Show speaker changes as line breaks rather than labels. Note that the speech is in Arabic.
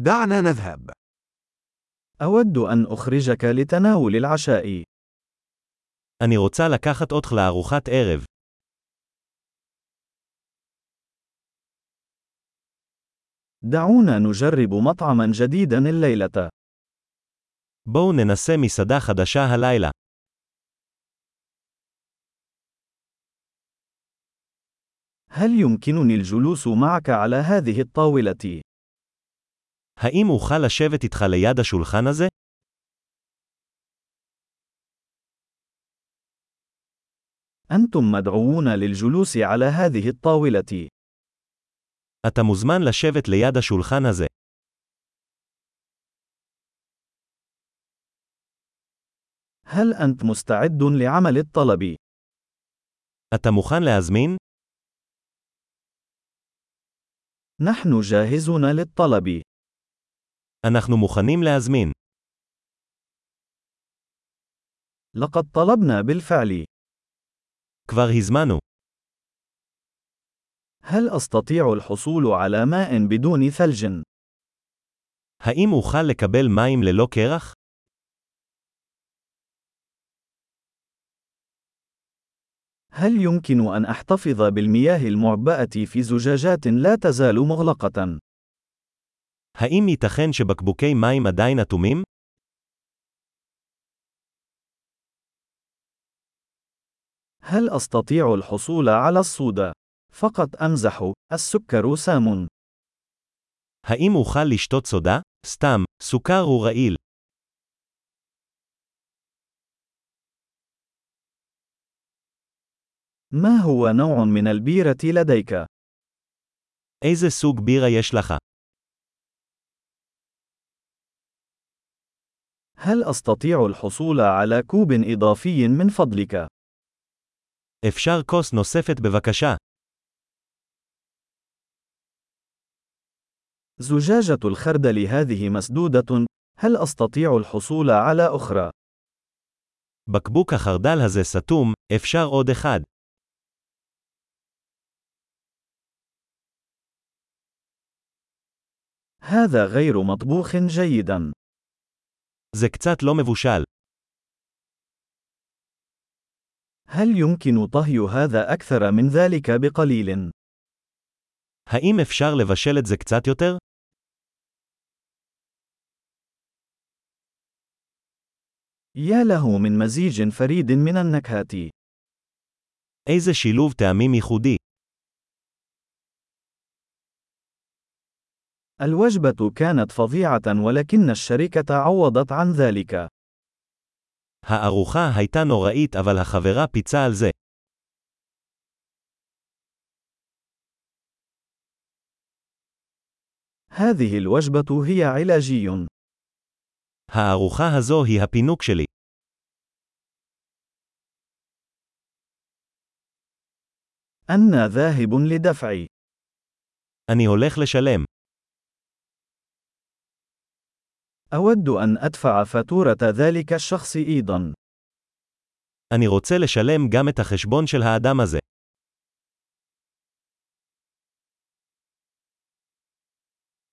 دعنا نذهب.
أود أن أخرجك لتناول العشاء.
אני רוצה לקחת אותך לארוחת ערב.
دعونا نجرب مطعما جديدا الليلة.
בואו ננסה מסעדה חדשה הלילה.
هل يمكنني الجلوس معك على هذه الطاولة؟
האם אוכל לשבת איתך ליד השולחן הזה?
أنتم مدعوون للجلوس على هذه الطاولة.
אתה מוזמן לשבת ליד השולחן הזה.
هل أنت مستعد لعمل الطلب؟
אתה מוכן להזמין?
نحن جاهزون للطلب.
אנחנו מוכנים להזמין.
لقد طلبنا بالفعل.
כבר הזמנו.
هل أستطيع الحصول على ماء بدون ثلج؟
האם אוכל לקבל מים ללא קרח?
هل يمكن أن أحتفظ بالمياه المعبأة في زجاجات لا تزال مغلقة؟
האם ייתכן שבקבוקי מים עדיין אטומים?
هل أستطيع الحصول على الصودا؟ فقط أمزح، السكر سام.
האם אוכל לשתות סודה? סתם, סוכר הוא רעיל.
ما هو نوع من البيرة لديك؟
איזה סוג בירה יש לך?
هل أستطيع الحصول على كوب إضافي من فضلك؟
אפשר כוס נוספת בבקשה.
زجاجة الخردل هذه مسدودة، هل أستطيع الحصول على أخرى؟
בקבוק החרדל הזה סתום, אפשר עוד אחד.
هذا غير مطبوخ جيدا.
זה קצת לא מבושל.
هل يمكن طهي هذا أكثر من ذلك بقليل؟
האם אפשר לבשל את זה קצת יותר?
يا له من مزيج فريد من النكهات.
איזה שילוב טעמים ייחודי.
الوجبة كانت فظيعة ولكن الشركة عوضت عن ذلك.
הארוחה הייתה נוראית אבל החברה פיצה על זה.
هذه الوجبة هي علاجي.
הארוחה הזו היא הפינוק שלי.
أنا ذاهب لدفع.
אני הולך לשלם.
أود أن أدفع فاتورة ذلك الشخص أيضا.
אני רוצה לשלם גם את החשבון של האדם הזה.